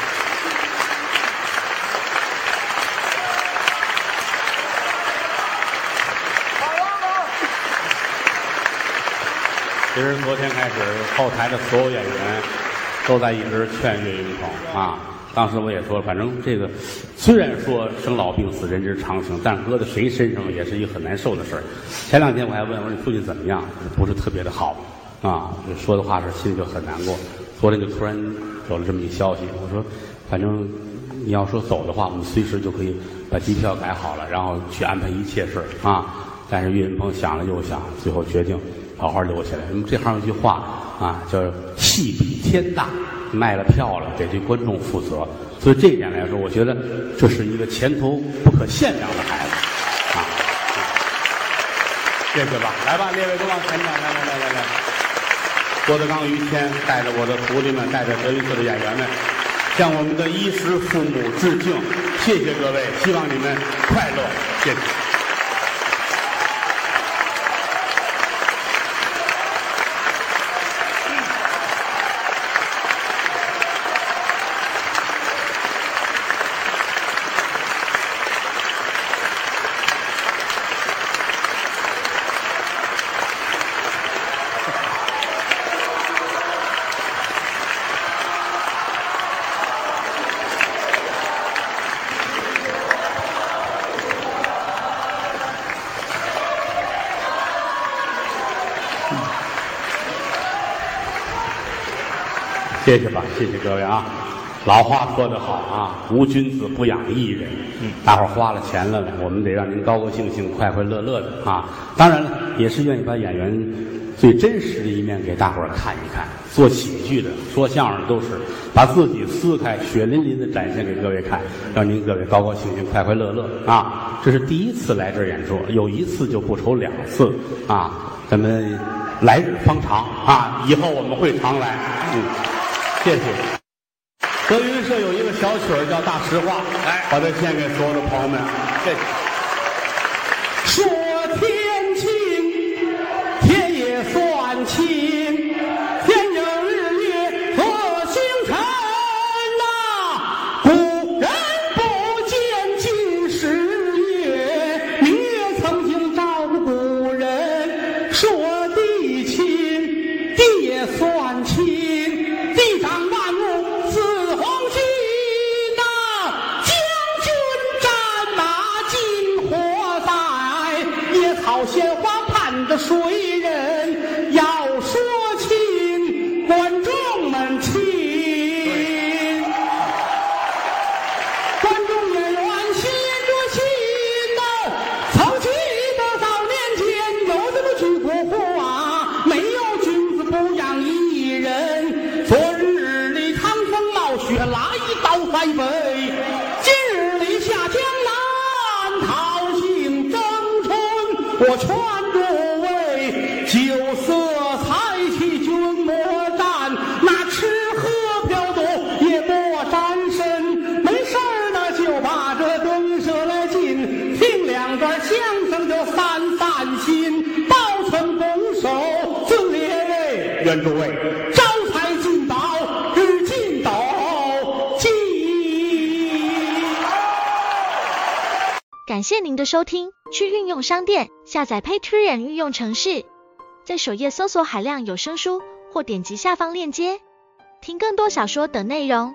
其实昨天开始，后台的所有演员都在一直劝岳云鹏啊。当时我也说，反正这个虽然说生老病死人之常情，但搁在谁身上也是一个很难受的事儿。前两天我还问我说你父亲怎么样，不是特别的好啊，说的话是心里就很难过。昨天就突然有了这么一消息，我说，反正你要说走的话，我们随时就可以把机票改好了，然后去安排一切事儿啊。但是岳云鹏想了又想，最后决定好好留下来。那么这行有句话啊，叫“戏比天大”，卖了票了得对观众负责。所以这一点来说，我觉得这是一个前途不可限量的孩子啊。谢谢吧，来吧，列位都往前站，来来来来来。郭德纲、于谦带着我的徒弟们，带着德云社的演员们，向我们的衣食父母致敬，谢谢各位，希望你们快乐，谢谢。谢谢吧，谢谢各位啊！老话说得好啊，无君子不养艺人。嗯，大伙儿花了钱了，我们得让您高高兴兴、快快乐乐的啊！当然了，也是愿意把演员最真实的一面给大伙儿看一看。做喜剧的、说相声的都是把自己撕开，血淋淋的展现给各位看，让您各位高高兴兴、快快乐乐啊！这是第一次来这儿演出，有一次就不愁两次啊！咱们来日方长啊，以后我们会常来。嗯。谢谢。德云社有一个小曲儿叫《大实话》，来，把它献给所有的朋友们。哎谢谢。说天晴，天也算晴，天有日月和星辰呐、古人不见今时月，明月曾经照过古人。说地亲，地也算亲，地长万物似黄金呐、将军战马金火在，野草鲜花盼着谁人？要说亲，观众们亲。观众演员心着心呐，曾记得早年间有这么句古话，没有君子不养艺人。昨日里趟风冒雪来到塞北，今日里下江南讨杏争春。我劝诸位，酒色财气君莫沾，那吃喝嫖赌也莫沾身。没事儿呢，就把这德云社来愿诸位招财进宝，日进斗金。
感谢您的收听，去运用商店下载 Patreon 运用城市，在首页搜索海量有声书，或点击下方链接听更多小说等内容。